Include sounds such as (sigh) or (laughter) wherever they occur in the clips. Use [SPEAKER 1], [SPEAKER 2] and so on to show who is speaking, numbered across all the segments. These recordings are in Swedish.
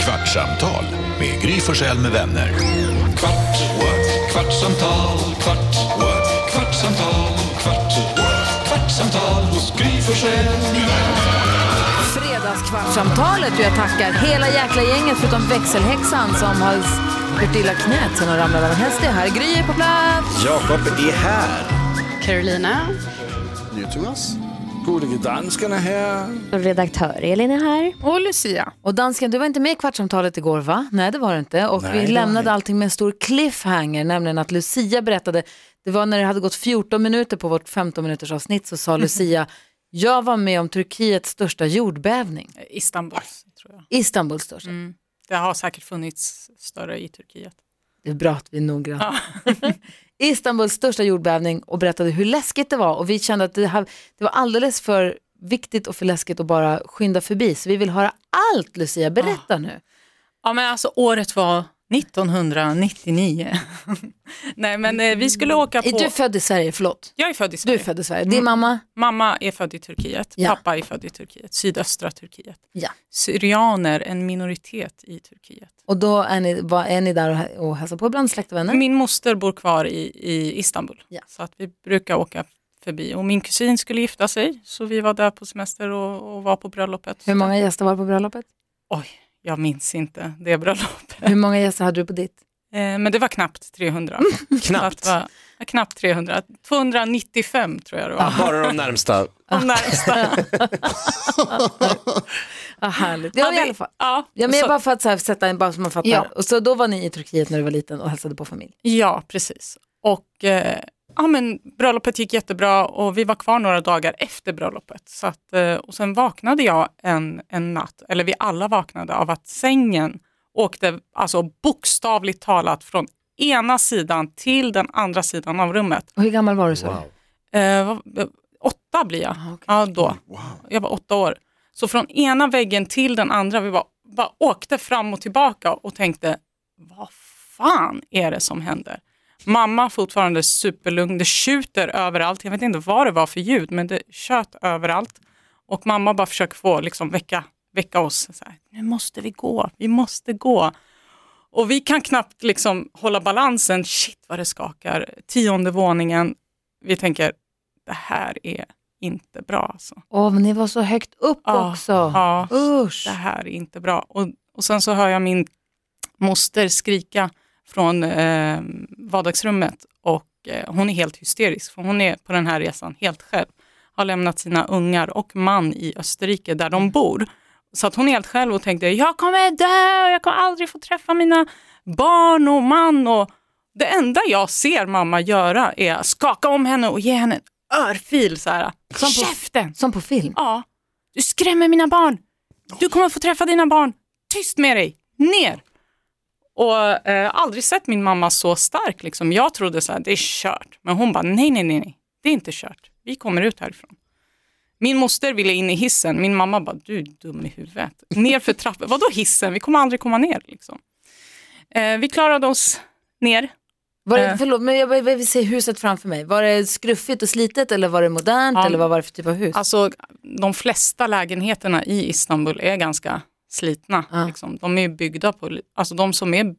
[SPEAKER 1] Kvartsamtal med Gry Forssell med vänner. Kvart, what? kvartsamtal, kvart, what? kvartsamtal, kvart, what? kvartsamtal hos Gry Forssell med vänner.
[SPEAKER 2] Fredagskvartssamtalet och jag tackar hela jäkla gänget förutom växelhäxan som har gjort illa knät sen hon ramlade av en häst. Det är här. Gry är på plats.
[SPEAKER 3] Jakob är här.
[SPEAKER 4] Carolina.
[SPEAKER 3] Jonas. Gullige dansken är här.
[SPEAKER 5] Redaktör Elin är här.
[SPEAKER 4] Och Lucia.
[SPEAKER 2] Och dansken, du var inte med i Kvartsamtalet igår va? Nej det var du inte. Och
[SPEAKER 3] Nej, det
[SPEAKER 2] vi
[SPEAKER 3] var
[SPEAKER 2] lämnade
[SPEAKER 3] inte.
[SPEAKER 2] allting med en stor cliffhanger, nämligen att Lucia berättade, det var när det hade gått 14 minuter på vårt 15 minuters avsnitt så (laughs) sa Lucia, jag var med om Turkiets största jordbävning.
[SPEAKER 4] Istanbul, tror jag.
[SPEAKER 2] Istanbuls största.
[SPEAKER 4] Det har säkert funnits större i Turkiet.
[SPEAKER 2] Det är bra att vi är noggranna. (laughs) Istanbuls största jordbävning och berättade hur läskigt det var och vi kände att det, här, det var alldeles för viktigt och för läskigt att bara skynda förbi så vi vill höra allt Lucia, berätta nu.
[SPEAKER 4] Ja, men alltså året var 1999. (laughs) Nej, men eh, vi skulle åka på...
[SPEAKER 2] Mm. Är du född i Sverige? Förlåt. Mm.
[SPEAKER 4] Jag är född i Sverige.
[SPEAKER 2] Du är född i Sverige. Din mamma?
[SPEAKER 4] Mamma är född i Turkiet,
[SPEAKER 2] Ja.
[SPEAKER 4] pappa är född i Turkiet, sydöstra Turkiet.
[SPEAKER 2] Ja.
[SPEAKER 4] Syrianer, en minoritet i Turkiet.
[SPEAKER 2] Och då är ni, var, är ni där och, hä- och hälsar på ibland, släkt och vänner?
[SPEAKER 4] Min moster bor kvar i, i Istanbul,
[SPEAKER 2] Mm. Ja.
[SPEAKER 4] så att vi brukar åka förbi. Och min kusin skulle gifta sig, så vi var där på semester och, och var på bröllopet.
[SPEAKER 2] Hur många gäster var på bröllopet?
[SPEAKER 4] Oj, jag minns inte det bröllopet.
[SPEAKER 2] Hur många gäster hade du på ditt?
[SPEAKER 4] Eh, Men det var knappt 300.
[SPEAKER 2] Mm.
[SPEAKER 3] Knappt.
[SPEAKER 4] Så att det var, ja, knappt 300. 295 tror jag det var.
[SPEAKER 3] Bara de närmsta.
[SPEAKER 4] De närmsta.
[SPEAKER 2] Ah, härligt. (laughs) Ja, i alla fall.
[SPEAKER 4] Ja,
[SPEAKER 2] Ja, men
[SPEAKER 4] så-
[SPEAKER 2] jag bara för att så här, sätta en, bara så man fattar.
[SPEAKER 4] Ja.
[SPEAKER 2] Och så då var ni i Turkiet när du var liten och hälsade på familj.
[SPEAKER 4] ja precis. Och eh, ja, men bröllopet gick jättebra och vi var kvar några dagar efter bröllopet. Så att, eh, och sen vaknade jag en, en natt, eller vi alla vaknade av att sängen åkte alltså bokstavligt talat från ena sidan till den andra sidan av rummet.
[SPEAKER 2] Och hur gammal var du så?
[SPEAKER 4] Eh, vad- eh, åtta blir jag. Ja, då. Jag var åtta år. Så från ena väggen till den andra, vi bara, bara åkte fram och tillbaka och tänkte, vad fan är det som händer? Mamma fortfarande superlugn, det tjuter överallt. Jag vet inte vad det var för ljud, men det tjöt överallt. Och mamma bara försöker få liksom, väcka, väcka oss. Så här, nu måste vi gå, vi måste gå. Och vi kan knappt liksom hålla balansen. Shit vad det skakar. Tionde våningen. Vi tänker, det här är inte bra. Alltså.
[SPEAKER 2] Åh, men ni var så högt upp
[SPEAKER 4] Ja,
[SPEAKER 2] också.
[SPEAKER 4] Ja,
[SPEAKER 2] Usch.
[SPEAKER 4] det här är inte bra. Och, och sen så hör jag min moster skrika från eh, vardagsrummet och eh, hon är helt hysterisk för hon är på den här resan helt själv. Har lämnat sina ungar och man i Österrike där de bor. Så att hon är helt själv och tänkte jag kommer dö, jag kommer aldrig få träffa mina barn och man. Och det enda jag ser mamma göra är att skaka om henne och ge henne en örfil så här.
[SPEAKER 2] Som på-
[SPEAKER 4] Käften!
[SPEAKER 2] Som på film.
[SPEAKER 4] Ja. Du skrämmer mina barn. Du kommer få träffa dina barn. Tyst med dig. Ner. Och eh, aldrig sett min mamma så stark. Liksom. Jag trodde så här, det är kört. Men hon bara, nej, nej, nej, nej. Det är inte kört. Vi kommer ut härifrån. Min moster ville in i hissen. Min mamma bara, du är dum i huvudet. Ner för trappan. Vadå hissen? Vi kommer aldrig komma ner. Liksom. Eh, vi klarade oss ner.
[SPEAKER 2] Var det,
[SPEAKER 4] Eh.
[SPEAKER 2] förlåt, men jag vill- vill se huset framför mig. Var det skruffigt och slitet eller var det modernt
[SPEAKER 4] Ja.
[SPEAKER 2] eller vad var det för typ av hus?
[SPEAKER 4] Alltså, de flesta lägenheterna i Istanbul är ganska slitna.
[SPEAKER 2] Ja.
[SPEAKER 4] Liksom. De är byggda på, alltså de som är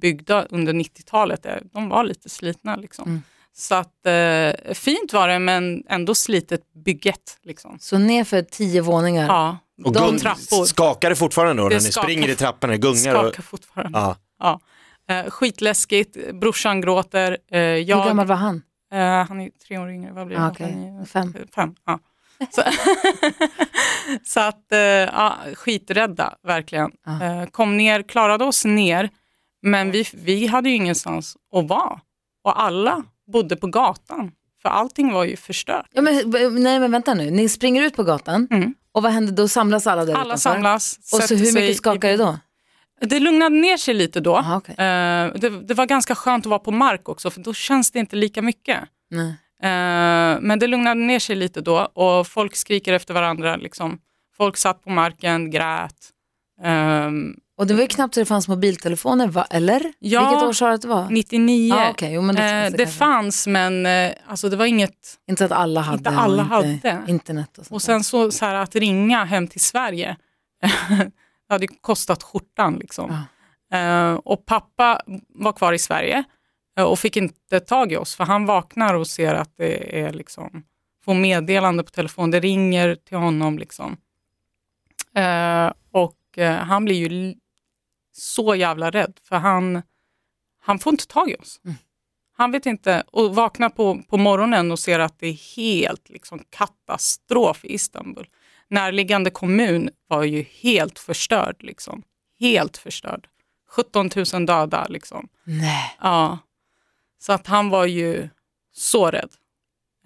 [SPEAKER 4] byggda under 90-talet, är- de var lite slitna. Liksom.
[SPEAKER 2] Mm.
[SPEAKER 4] Så att, eh, fint var det, men ändå slitet bygget. Liksom.
[SPEAKER 2] Så ner för tio våningar.
[SPEAKER 4] Ja,
[SPEAKER 3] Och
[SPEAKER 4] de
[SPEAKER 3] gung-
[SPEAKER 4] trappor
[SPEAKER 3] Skakar det fortfarande då
[SPEAKER 4] Det
[SPEAKER 3] när ni
[SPEAKER 4] skakar.
[SPEAKER 3] springer i trapporna, gungar? Och,
[SPEAKER 4] skakar fortfarande.
[SPEAKER 3] ja.
[SPEAKER 4] Ja. Eh, skitläskigt, brorsan gråter. Eh,
[SPEAKER 2] Hur
[SPEAKER 4] jag,
[SPEAKER 2] gammal var han?
[SPEAKER 4] eh, han är tre år yngre, vad blir
[SPEAKER 2] Ah,
[SPEAKER 4] det?
[SPEAKER 2] okej.
[SPEAKER 4] Han är-
[SPEAKER 2] Fem.
[SPEAKER 4] Fem, ja. Så, (laughs) så att, eh, ja, skiträdda verkligen.
[SPEAKER 2] Ja.
[SPEAKER 4] Eh, kom ner, klarade oss ner, men vi, vi hade ju ingenstans att vara. Och alla bodde på gatan, för allting var ju förstört.
[SPEAKER 2] Ja, men, v- nej men vänta nu, ni springer ut på gatan
[SPEAKER 4] Mm.
[SPEAKER 2] och vad händer? Då samlas alla där
[SPEAKER 4] Alla
[SPEAKER 2] utanför?
[SPEAKER 4] samlas,
[SPEAKER 2] Och så
[SPEAKER 4] sätter
[SPEAKER 2] hur
[SPEAKER 4] sig
[SPEAKER 2] mycket skakar det
[SPEAKER 4] i,
[SPEAKER 2] då?
[SPEAKER 4] Det lugnade ner sig lite då.
[SPEAKER 2] Aha, okej.
[SPEAKER 4] Eh, det, det var ganska skönt att vara på mark också, för då känns det inte lika mycket.
[SPEAKER 2] Nej.
[SPEAKER 4] Eh, men det lugnade ner sig lite då och folk skriker efter varandra. Liksom. Folk satt på marken, grät. Ehm,
[SPEAKER 2] Och det var ju knappt så det fanns mobiltelefoner, va? eller?
[SPEAKER 4] Ja.
[SPEAKER 2] Vilket år sa du att det var?
[SPEAKER 4] 99.
[SPEAKER 2] Ah, okej. Jo, men det
[SPEAKER 4] Eh,
[SPEAKER 2] fanns
[SPEAKER 4] det
[SPEAKER 2] det kanske.
[SPEAKER 4] fanns men eh, alltså, det var inget.
[SPEAKER 2] Inte så att alla hade.
[SPEAKER 4] Inte alla
[SPEAKER 2] och inte
[SPEAKER 4] hade.
[SPEAKER 2] Internet och sånt.
[SPEAKER 4] Och sen så, så här, att ringa hem till Sverige. (laughs) det hade ju kostat skjortan liksom. Eh, och pappa var kvar i Sverige eh, och fick inte tag i oss för han vaknar och ser att det är liksom, får meddelande på telefon, det ringer till honom liksom. Eh, och eh, han blir ju l- så jävla rädd för han, han får inte tag i oss. Han vet inte, och vaknar på, på morgonen och ser att det är helt liksom, katastrof i Istanbul. Närliggande kommun var ju helt förstörd. Liksom. Helt förstörd. 17 000 döda. Liksom.
[SPEAKER 2] Nej.
[SPEAKER 4] Ja. Så att han var ju så rädd.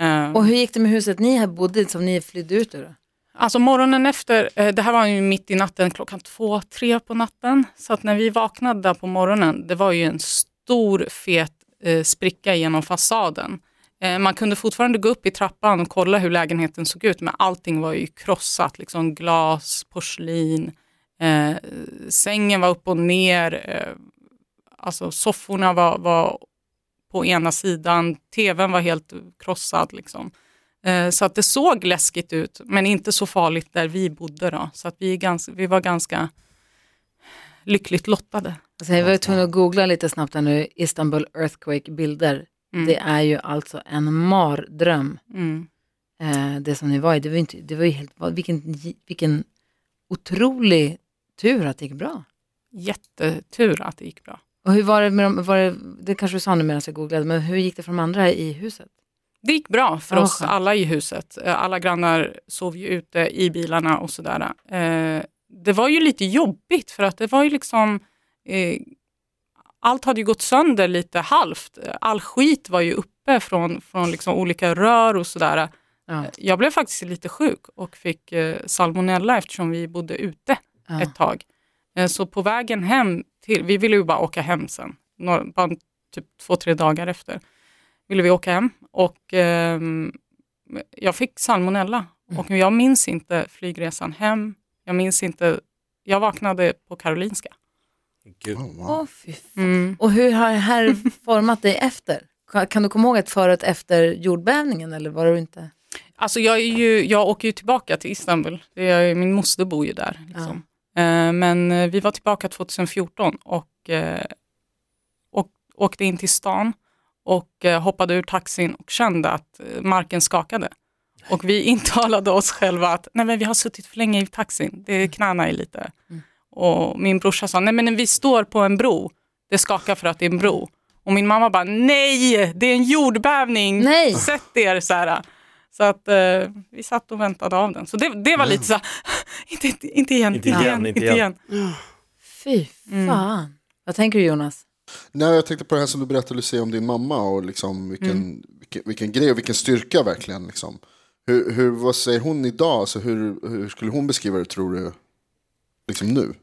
[SPEAKER 4] Eh,
[SPEAKER 2] Och hur gick det med huset ni här bodde i som ni flydde ut ur? då?
[SPEAKER 4] Alltså morgonen efter, eh, det här var ju mitt i natten, klockan två, tre på natten. Så att när vi vaknade där på morgonen, det var ju en stor fet eh, spricka genom fasaden. Eh, man kunde fortfarande gå upp i trappan och kolla hur lägenheten såg ut, men allting var ju krossat. Liksom glas, porslin, eh, sängen var upp och ner, eh, alltså sofforna var, var på ena sidan, tvn var helt krossad. Liksom. Eh, Så att det såg läskigt ut, men inte så farligt där vi bodde. Då. Så att vi, är ganska, vi var ganska lyckligt lottade.
[SPEAKER 2] Alltså, jag var ju tvungen att googla lite snabbt här nu, Istanbul earthquake bilder. Det är ju alltså en mardröm,
[SPEAKER 4] Mm.
[SPEAKER 2] eh, det som ni var i. Det var ju, inte, det var ju helt, vad- vilken, vilken otrolig tur att det gick bra.
[SPEAKER 4] Jättetur att det gick bra.
[SPEAKER 2] Och hur var det med de, var det, det kanske du sa nu medan jag googlade, men hur gick det för de andra i huset?
[SPEAKER 4] Det gick bra för
[SPEAKER 2] Ja,
[SPEAKER 4] oss
[SPEAKER 2] skönt.
[SPEAKER 4] alla i huset. Eh, Alla grannar sov ju ute i bilarna och sådär. Eh, Det var ju lite jobbigt för att det var ju liksom... eh, Allt hade ju gått sönder lite halvt. Eh, All skit var ju uppe från, från liksom olika rör och sådär.
[SPEAKER 2] Ja.
[SPEAKER 4] Eh, Jag blev faktiskt lite sjuk och fick eh, salmonella eftersom vi bodde ute
[SPEAKER 2] Ja.
[SPEAKER 4] ett tag. Eh, Så på vägen hem, till, vi ville ju bara åka hem sen, några, bara typ två, tre dagar efter, ville vi åka hem och ehm, jag fick salmonella och jag minns inte flygresan hem, jag minns inte, jag vaknade på Karolinska.
[SPEAKER 2] Åh, fy fan. Och hur har det (laughs) här format dig efter? Ka- Kan du komma ihåg ett före och ett efter jordbävningen eller var det inte?
[SPEAKER 4] Alltså jag, är ju, jag åker ju tillbaka till Istanbul, det är, min moster bor ju där. Liksom. Eh, Men eh, vi var tillbaka 2014 och, eh, och åkte in till stan och eh, hoppade ur taxin och kände att eh, marken skakade. Och vi (laughs) intalade oss själva att nej men vi har suttit för länge i taxin, det knäna är lite. Och min brorsa sa, nej men vi står på en bro, det skakar för att det är en bro. Och min mamma bara, nej, det är en jordbävning,
[SPEAKER 2] Nej.
[SPEAKER 4] sätt er så här. Så att eh, vi satt och väntade av den. Så det, det var lite så här, (laughs) inte, inte, inte igen, inte
[SPEAKER 3] igen,
[SPEAKER 4] igen,
[SPEAKER 3] inte
[SPEAKER 4] inte
[SPEAKER 3] igen.
[SPEAKER 4] igen.
[SPEAKER 2] Fy fan. Mm. Vad tänker du Jonas?
[SPEAKER 6] Nej, jag tänkte på det här som du berättade Lucia om din mamma och liksom vilken, vilken, vilken grej och vilken styrka verkligen. Liksom. Hur, hur, vad säger hon idag? Alltså, hur, hur skulle hon beskriva det tror du? Liksom nu?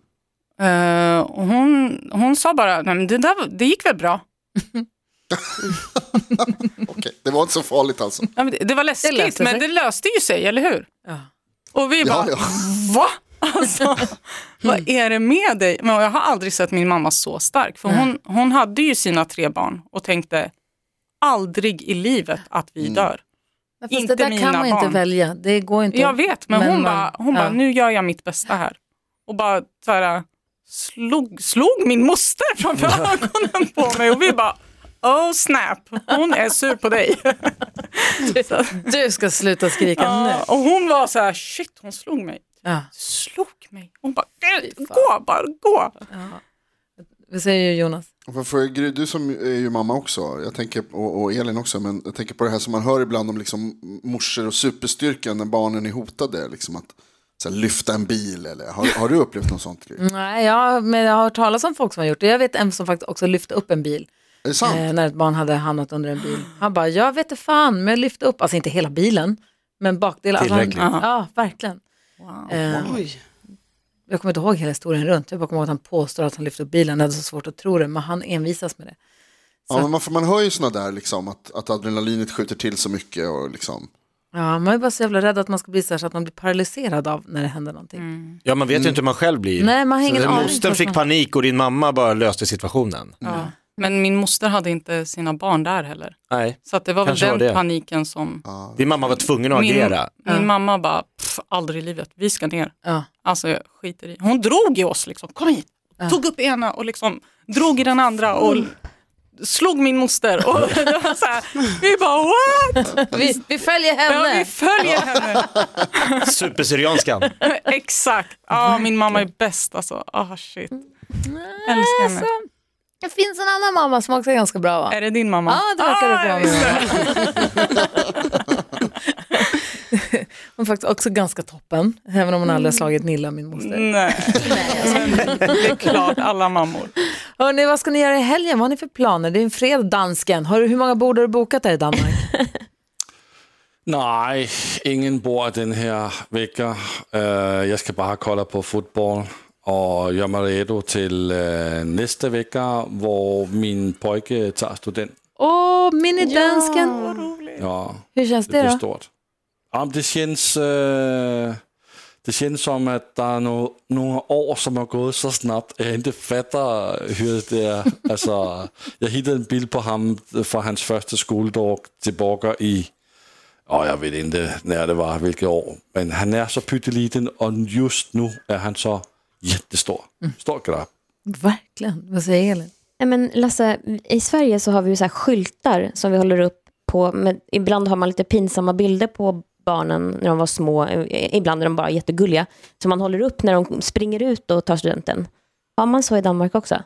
[SPEAKER 4] Eh, och hon, hon sa bara, nej men det, där, det gick väl bra.
[SPEAKER 6] Okej, det var inte så farligt alltså.
[SPEAKER 4] Ja, men det, det var läskigt,
[SPEAKER 2] löste
[SPEAKER 4] men
[SPEAKER 2] sig.
[SPEAKER 4] det löste ju sig, eller hur?
[SPEAKER 2] Ja.
[SPEAKER 4] Och vi
[SPEAKER 6] Ja,
[SPEAKER 4] bara,
[SPEAKER 6] ja.
[SPEAKER 4] (laughs) va? Alltså, vad är det med dig? Men jag har aldrig sett min mamma så stark. För hon, hon hade ju sina tre barn och tänkte, aldrig i livet att vi dör.
[SPEAKER 2] Fast
[SPEAKER 4] Inte
[SPEAKER 2] det där
[SPEAKER 4] mina
[SPEAKER 2] kan man ju inte
[SPEAKER 4] barn.
[SPEAKER 2] välja. Det går ju inte.
[SPEAKER 4] Jag vet, men,
[SPEAKER 2] Men
[SPEAKER 4] hon,
[SPEAKER 2] man-
[SPEAKER 4] bara, hon
[SPEAKER 2] ja.
[SPEAKER 4] bara, nu gör jag mitt bästa här. Och bara så här, äh, slog, slog min moster framför ögonen på mig och vi bara, oh snap, hon är sur
[SPEAKER 2] (laughs)
[SPEAKER 4] på dig. Så,
[SPEAKER 2] Du ska sluta skrika
[SPEAKER 4] ja,
[SPEAKER 2] nu.
[SPEAKER 4] och hon var så här, shit hon slog mig.
[SPEAKER 2] Ja.
[SPEAKER 4] Slog mig. Hon bara, "Nej, gå bara, gå.
[SPEAKER 2] Vad säger Jonas?
[SPEAKER 6] Och För Gry, du som är ju mamma också, jag tänker, på- och, och Elin också, men jag tänker på det här som man hör ibland om liksom morsor och superstyrkan när barnen är hotade. Liksom att så här, lyfta en bil eller har, har du upplevt något sånt? Gry?
[SPEAKER 2] Nej, jag, men jag har hört talas om folk som har gjort det. Jag vet en som faktiskt också lyfte upp en bil.
[SPEAKER 6] Är det sant?
[SPEAKER 2] Eh, när ett barn hade hamnat under en bil. Han bara, jag vet inte fan, men jag lyfte upp, alltså inte hela bilen, men bakdelen. Alltså han,
[SPEAKER 3] Tillräckligt.
[SPEAKER 2] ja, verkligen. Eh, jag kommer inte ihåg hela historien runt, jag bara kommer ihåg att han påstår att han lyfte upp bilen, jag hade så svårt att tro det, men han envisas med det.
[SPEAKER 6] Ja, men man, får- man hör ju sådana där, liksom, att, att adrenalinet skjuter till så mycket. Och, liksom.
[SPEAKER 2] Ja, man är bara så jävla rädd att man ska bli så här så att man blir paralyserad av när det händer någonting.
[SPEAKER 4] Mm.
[SPEAKER 3] Ja, man vet ju inte hur man själv blir.
[SPEAKER 2] Nej, man har ingen
[SPEAKER 3] Så
[SPEAKER 2] aning.
[SPEAKER 3] Mostern fick panik och din mamma bara löste situationen.
[SPEAKER 4] Ja. Men min moster hade inte sina barn där heller.
[SPEAKER 3] Nej.
[SPEAKER 4] Så att det var
[SPEAKER 3] Kanske
[SPEAKER 4] väl
[SPEAKER 3] var
[SPEAKER 4] den
[SPEAKER 3] det.
[SPEAKER 4] paniken som
[SPEAKER 3] Din mamma var tvungen att
[SPEAKER 4] min,
[SPEAKER 3] agera.
[SPEAKER 4] min
[SPEAKER 2] Ja.
[SPEAKER 4] mamma bara, "Pff, aldrig i livet, vi ska ner.
[SPEAKER 2] Ja.
[SPEAKER 4] Alltså jag skiter i. Hon drog i oss liksom, kom hit.
[SPEAKER 2] Ja. Mm.
[SPEAKER 4] Tog upp ena och liksom drog i den andra och slog min moster. Och (laughs) det var så här, vi bara what?
[SPEAKER 2] Vi, vi följer
[SPEAKER 4] Ja, vi
[SPEAKER 2] henne.
[SPEAKER 4] följer henne.
[SPEAKER 3] Supersyrianskan.
[SPEAKER 4] Exakt.
[SPEAKER 2] Mm.
[SPEAKER 4] Ja, min mamma är bäst alltså. Ah shit. Älskar henne.
[SPEAKER 2] Det finns en annan mamma som också är ganska bra va?
[SPEAKER 4] Är det Ah, din mamma?
[SPEAKER 2] Ja, det verkar det bra
[SPEAKER 4] jag
[SPEAKER 2] (laughs)
[SPEAKER 4] visste.
[SPEAKER 2] Hon är faktiskt också ganska toppen, även om hon aldrig
[SPEAKER 4] Mm.
[SPEAKER 2] har slagit Nilla, min moster.
[SPEAKER 4] Nej, (laughs) Men det är klart alla mammor.
[SPEAKER 2] Hörrni, vad ska ni göra i helgen? Vad har ni för planer? Det är en fredag, dansken. Har du, hur många bord har du bokat där i
[SPEAKER 4] (laughs)
[SPEAKER 2] Danmark?
[SPEAKER 7] Nej, ingen bor den her vecka. Øh, Jeg skal bare kolla på fodbold og gøre mig redo til øh, næste vecka, hvor min pojke tager student.
[SPEAKER 2] Åh, minidansken.
[SPEAKER 7] Ja,
[SPEAKER 2] Hur känns
[SPEAKER 7] det
[SPEAKER 2] det
[SPEAKER 7] bliver
[SPEAKER 2] då?
[SPEAKER 7] stort. Om det känns, øh, det känns som, at der er no, nogle år, som er gået så snabbt, at jeg ikke fatter, hur det er. Altså, jeg hittede en bil på ham øh, fra hans første skoledag til Borger i, og jeg ved ikke, når det var, hvilket år. Men han er så pytteliten, og just nu er han så jättestor. Stor grab.
[SPEAKER 2] Verkligen. Vad säger
[SPEAKER 4] (laughs)
[SPEAKER 2] Elin?
[SPEAKER 5] Nej, men Lasse, i Sverige så har vi ju så här skyltar som vi håller upp på. Men ibland har man lite pinsamma bilder på barnen när de var små. Eh, Ibland är de bara jättegulliga. Som man håller upp när de springer ut och tar studenten. Har man så i Danmark också?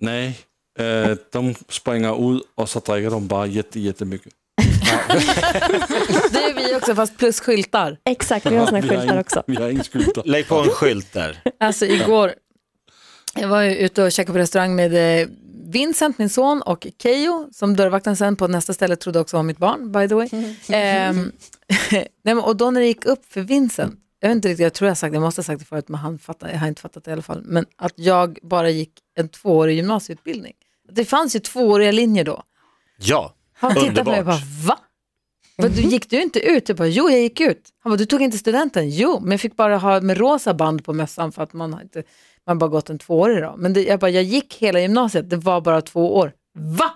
[SPEAKER 7] Nej, øh, de springer ud, og så drikker de bare jätte, jättemycket.
[SPEAKER 2] Det är vi också, fast plus skyltar.
[SPEAKER 5] Exakt, vi har såna här skyltar
[SPEAKER 7] ingen-
[SPEAKER 5] också.
[SPEAKER 7] Vi har ingen skylter.
[SPEAKER 3] (laughs) Lägg på en skylt där.
[SPEAKER 2] Alltså igår, jag var ju ute och käkade på restaurang med eh, Vincent, min son, och Kejo som dörrvakten sen på nästa ställe trodde också var mitt barn, by the way. Ehm, (laughs) nej, men, och då när det gick upp för Vincent, jag vet inte riktigt, jag tror jag har sagt det, jag måste ha sagt det förut, men han fattar, jag har inte fattat det i alla fall, men att jag bara gick en tvåårig gymnasieutbildning. Det fanns ju tvååriga linjer då.
[SPEAKER 3] Ja,
[SPEAKER 2] Han tittade på mig och bara,
[SPEAKER 3] Underbart.
[SPEAKER 2] va? Vad, du, gick du inte ut? Jag bara, jo jag gick ut. Han bara, du tog inte studenten? Jo, men jag fick bara ha med rosa band på mössan för att man har inte, man har bara gått en tvåårig då. Men det, jag bara, jag gick hela gymnasiet, det var bara två år. Va?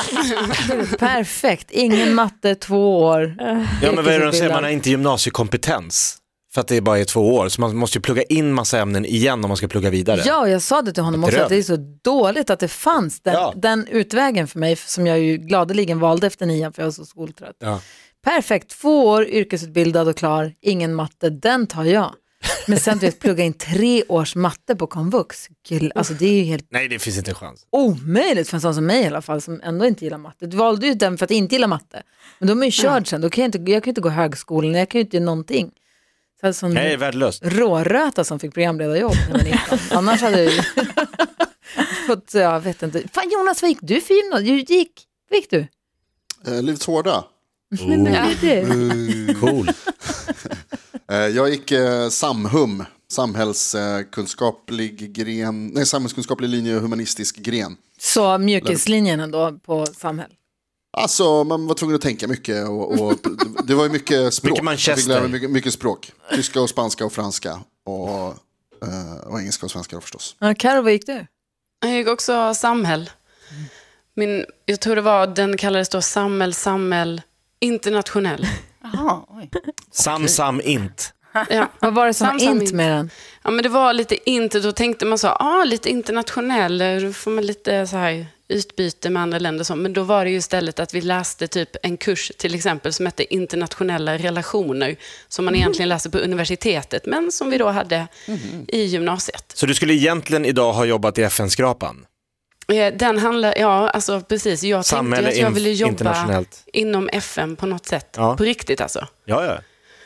[SPEAKER 2] (laughs) Perfekt, ingen matte, två år.
[SPEAKER 3] ja men vad är det de säger,
[SPEAKER 2] yrkesutbildad.
[SPEAKER 3] man har inte gymnasiekompetens. För att det bara är två år, så man måste ju plugga in massa ämnen igen om man ska plugga vidare.
[SPEAKER 2] Ja, och jag sa det till honom också,
[SPEAKER 3] Dröm.
[SPEAKER 2] att det är så dåligt att det fanns den,
[SPEAKER 3] Ja.
[SPEAKER 2] den utvägen för mig, som jag ju gladeligen valde efter nian, för jag var så skoltrött.
[SPEAKER 3] Ja.
[SPEAKER 2] Perfekt, två år yrkesutbildad och klar, ingen matte, den tar jag. Men sen du vet, plugga in tre års matte på komvux, Gud, alltså det är ju helt
[SPEAKER 3] Nej, det finns inte en chans.
[SPEAKER 2] omöjligt för en sån som mig i alla fall, som ändå inte gillar matte. Du valde ju den för att inte gilla matte, men de är ju körd sen, då kan jag, inte, jag kan ju inte gå högskolan, jag kan ju inte göra någonting. Så här, som
[SPEAKER 3] Nej, värdelöst.
[SPEAKER 2] råröta som fick programledarjobb när jag var 19. Annars hade jag ju fått, jag vet inte. Fan Jonas, vad gick du för gymnasium? Du gick, vad gick du?
[SPEAKER 6] Eh, livets hårda.
[SPEAKER 2] Men, men, det är det.
[SPEAKER 3] Mm. Cool.
[SPEAKER 6] Eh, jag gick eh, Samhum, samhällskunskaplig gren, nej samhällskunskaplig linje och humanistisk gren.
[SPEAKER 2] Så mjukislinjen ändå på Samhäll.
[SPEAKER 6] Alltså man var tvungen att tänka mycket och, och det var ju mycket språk.
[SPEAKER 3] Mycket Manchester.
[SPEAKER 6] Jag fick lära mig mycket, mycket språk. Tyska och spanska och franska och, eh, och engelska och svenska då förstås.
[SPEAKER 2] Ja, Karo, vad gick du?
[SPEAKER 8] Jag gick också samhäll. Min, jag tror det var, den kallades då samhäll, samhäll, internationell.
[SPEAKER 4] Jaha, oj.
[SPEAKER 3] Sam, sam, int.
[SPEAKER 8] Ja.
[SPEAKER 2] Vad var det som var
[SPEAKER 8] Sam, sam,
[SPEAKER 2] int
[SPEAKER 8] int.
[SPEAKER 2] med den?
[SPEAKER 8] ja, men det var lite inte, då tänkte man så, ah, lite internationell, då får man lite så här utbyte med andra länder. och så. Men då var det ju istället att vi läste typ en kurs till exempel som hette internationella relationer, som man egentligen läste på universitetet, men som vi då hade i gymnasiet.
[SPEAKER 3] Så du skulle egentligen idag ha jobbat i FN-skrapan?
[SPEAKER 8] Eh, Den handlar, ja alltså precis, jag
[SPEAKER 3] Samhälle
[SPEAKER 8] tänkte ju att jag
[SPEAKER 3] in-
[SPEAKER 8] ville jobba
[SPEAKER 3] internationellt.
[SPEAKER 8] inom FN på något sätt,
[SPEAKER 3] Ja.
[SPEAKER 8] på riktigt alltså.
[SPEAKER 3] Ja, ja.